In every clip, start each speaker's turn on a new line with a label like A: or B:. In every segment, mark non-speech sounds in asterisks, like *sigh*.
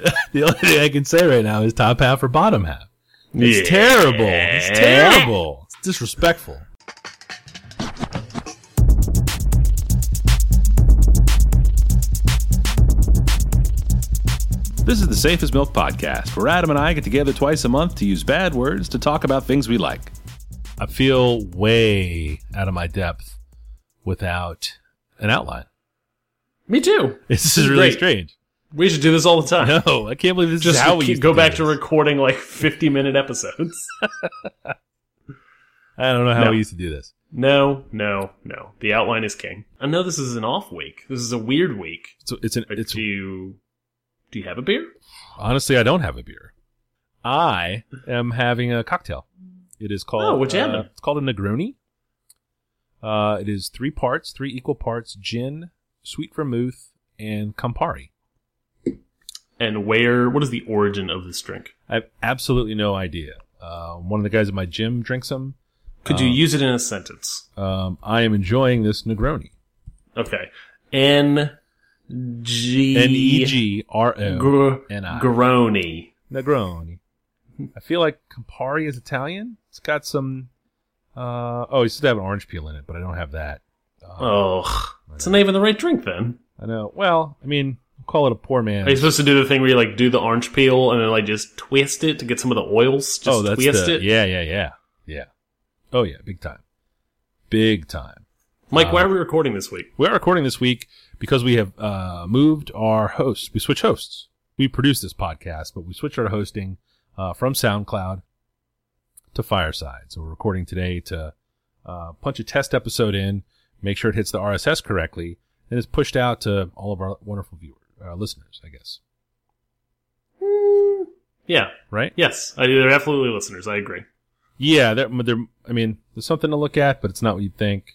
A: the only thing I can say right now is top half or bottom half. It's
B: Yeah.
A: terrible. It's terrible. It's disrespectful. This is the Safest Milk Podcast, where Adam and I get together twice a month to use bad words to talk about things we like. I feel way out of my depth without an outline. *laughs*
B: Me too.
A: This is really
B: Great.
A: strange.
B: We should do this all the time.
A: No, I can't believe this
B: *laughs* Just
A: is how we
B: keep-
A: used
B: go
A: do
B: back
A: this.
B: to recording like *laughs* 50 minute episodes. *laughs*
A: I don't know how
B: No.
A: we used to do this.
B: no, no, no. The outline is king. I know this is an off week. This is a weird week.
A: So it's an
B: Like,
A: it's
B: do you do you have a beer?
A: honestly I don't have a beer. I am having a cocktail. It is called
B: Oh, what you
A: uh,
B: having?
A: It's called a Negroni. Uh, it is three parts, three equal parts: gin, sweet vermouth, and Campari.
B: And where? What is the origin of this drink?
A: I have absolutely no idea. Uh, one of the guys at my gym drinks them.
B: Could
A: Uh,
B: you use it in a sentence?
A: Um, I am enjoying this Negroni.
B: Okay. N G
A: N e g r o
B: gr
A: N I.
B: Grony.
A: Negroni. I feel like Campari is Italian. It's got some. Uh, oh, you should have an orange peel in it, but I don't have that. Um,
B: Oh, it's not even the right drink then.
A: I know. Well, I mean, call it a poor man.
B: Are you supposed to do the thing where you like do the orange peel and then like just twist it to get some of the oils? Just
A: oh, that's
B: twist
A: the,
B: it.
A: yeah, yeah, yeah, yeah. Oh yeah, big time, big time.
B: Mike, why are
A: Uh,
B: we recording this week?
A: We are recording this week because we have uh, moved our host. We switch hosts. We produce this podcast, but we switched our hosting uh, from SoundCloud to Fireside. So we're recording today to uh, punch a test episode in, make sure it hits the RSS correctly, and it's pushed out to all of our wonderful viewers, uh, listeners, I guess. Hmm.
B: Yeah.
A: Right?
B: Yes. I, they're absolutely listeners. I agree.
A: Yeah, they're, they're, I mean, there's something to look at, but it's not what you'd think.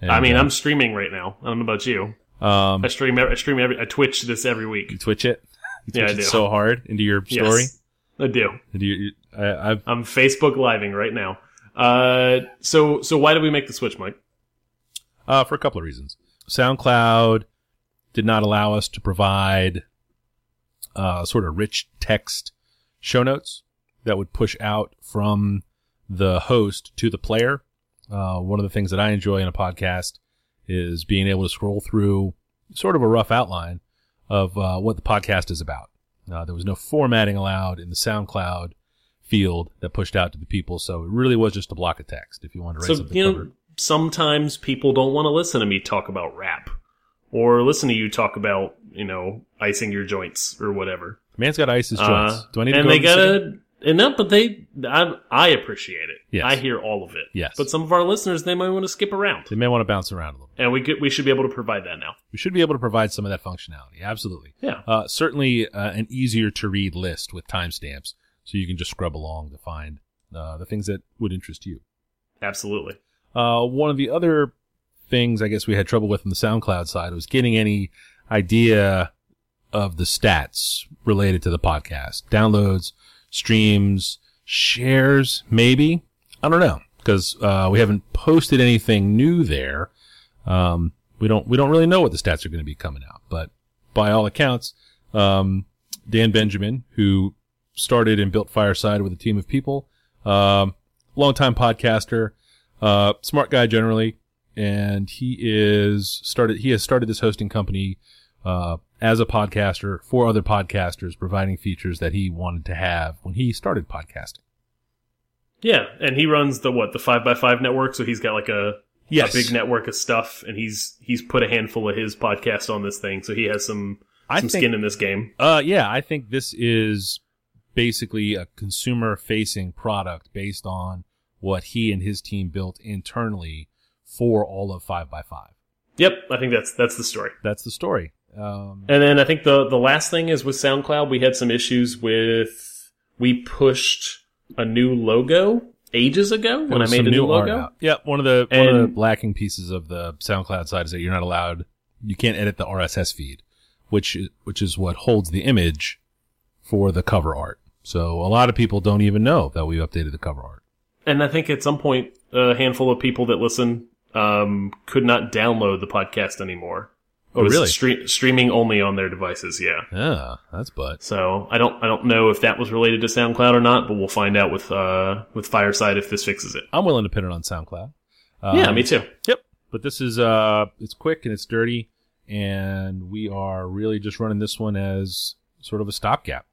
A: And,
B: I mean,
A: uh,
B: I'm streaming right now. I don't know about you.
A: um,
B: I stream. ev- I stream every. I Twitch this every week.
A: you twitch it. You
B: Yeah, I
A: twitch
B: do.
A: it so hard into your story.
B: Yes, I do.
A: Into your, you- I, I've
B: I'm Facebook living right now. Uh, so so why did we make the switch, Mike?
A: Uh, for a couple of reasons. SoundCloud did not allow us to provide uh, sort of rich text show notes that would push out from the host to the player. Uh, one of the things that I enjoy in a podcast is being able to scroll through sort of a rough outline of uh, what the podcast is about. Uh, there was no formatting allowed in the SoundCloud field that pushed out to the people, so it really was just a block of text. If you wanted to write
B: So
A: something,
B: you know,
A: covered.
B: sometimes people don't want to listen to me talk about rap, or listen to you talk about you know icing your joints or whatever.
A: Man's got ice his joints.
B: Uh,
A: Do I need to
B: and
A: go
B: they
A: over this again?
B: gotta and no, but they I I appreciate it.
A: Yes.
B: I hear all of it.
A: Yes.
B: But some of our listeners they might want to skip around.
A: They may want to bounce around a little.
B: And we could we should be able to provide that now.
A: We should be able to provide some of that functionality. Absolutely.
B: Yeah.
A: Uh, certainly uh, an easier to read list with timestamps, so you can just scrub along to find uh, the things that would interest you.
B: Absolutely.
A: Uh, one of the other things I guess we had trouble with on the SoundCloud side was getting any idea of the stats related to the podcast. Downloads, streams, shares, maybe. I don't know because uh, we haven't posted anything new there. Um, we don't we don't really know what the stats are going to be coming out, but by all accounts, um, Dan Benjamin, who started and built Fireside with a team of people, um, longtime podcaster, uh, smart guy generally, and he is started. He has started this hosting company uh, as a podcaster for other podcasters, providing features that he wanted to have when he started podcasting.
B: Yeah. And he runs the what, the five by five network, so he's got like a
A: Yes.
B: a big network of stuff and he's he's put a handful of his podcasts on this thing, so he has some
A: I
B: some
A: think-
B: skin in this game.
A: Uh, yeah, I think this is basically a consumer facing product based on what he and his team built internally for all of 5x5.
B: Yep, I think that's that's the story.
A: That's the story. Um,
B: And then I think the the last thing is with SoundCloud, we had some issues with we pushed a new logo ages ago when I
A: There was
B: made a
A: some
B: new,
A: art
B: logo.
A: out. Yeah, one of the one of
B: And-
A: the lacking pieces of the SoundCloud side is that you're not allowed, you can't edit the RSS feed, which is, which is what holds the image for the cover art. So a lot of people don't even know that we updated the cover art.
B: And I think at some point, a handful of people that listen um, could not download the podcast anymore It
A: Oh,
B: was
A: really?
B: stre- streaming only on their devices, yeah.
A: Ah, that's butt.
B: So I don't I don't know if that was related to SoundCloud or not, but we'll find out with uh with Fireside if this fixes it.
A: I'm willing to pin it on SoundCloud. Um,
B: yeah, me too.
A: Yep. But this is uh, it's quick and it's dirty, and we are really just running this one as sort of a stopgap.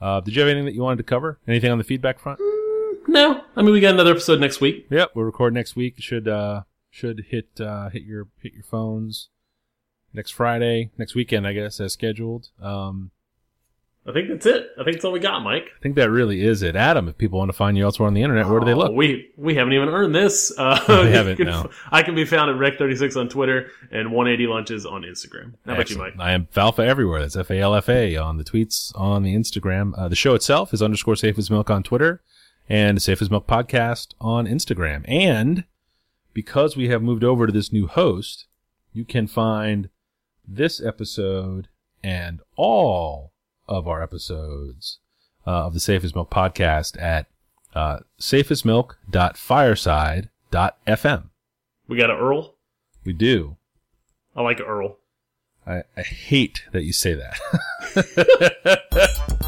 A: Uh, did you have anything that you wanted to cover? Anything on the feedback front?
B: No, I mean we got another episode next week.
A: Yep, we'll record next week. Should uh, should hit uh, hit your hit your phones next Friday, next weekend, I guess, as scheduled. Um,
B: I think that's it. I think that's all we got, Mike.
A: I think that really is it, Adam. If people want to find you elsewhere on the internet, where do they
B: Oh,
A: look?
B: We we haven't even earned this. *laughs* Uh,
A: We haven't,
B: you can-
A: no.
B: I can be found at Rec36 on Twitter and 180 Lunches on Instagram. How about you, Mike?
A: Excellent. I am Falfa everywhere. That's F A L F A on the tweets, on the Instagram. Uh, the show itself is underscore safe as milk on Twitter and safe as milk podcast on Instagram. And because we have moved over to this new host, you can find this episode and all of our episodes uh, of the Safe as Milk podcast at uh, safeasmilk.fireside.fm.
B: We got a Earl.
A: We do.
B: I like a Earl. *laughs*
A: I, I hate that you say that.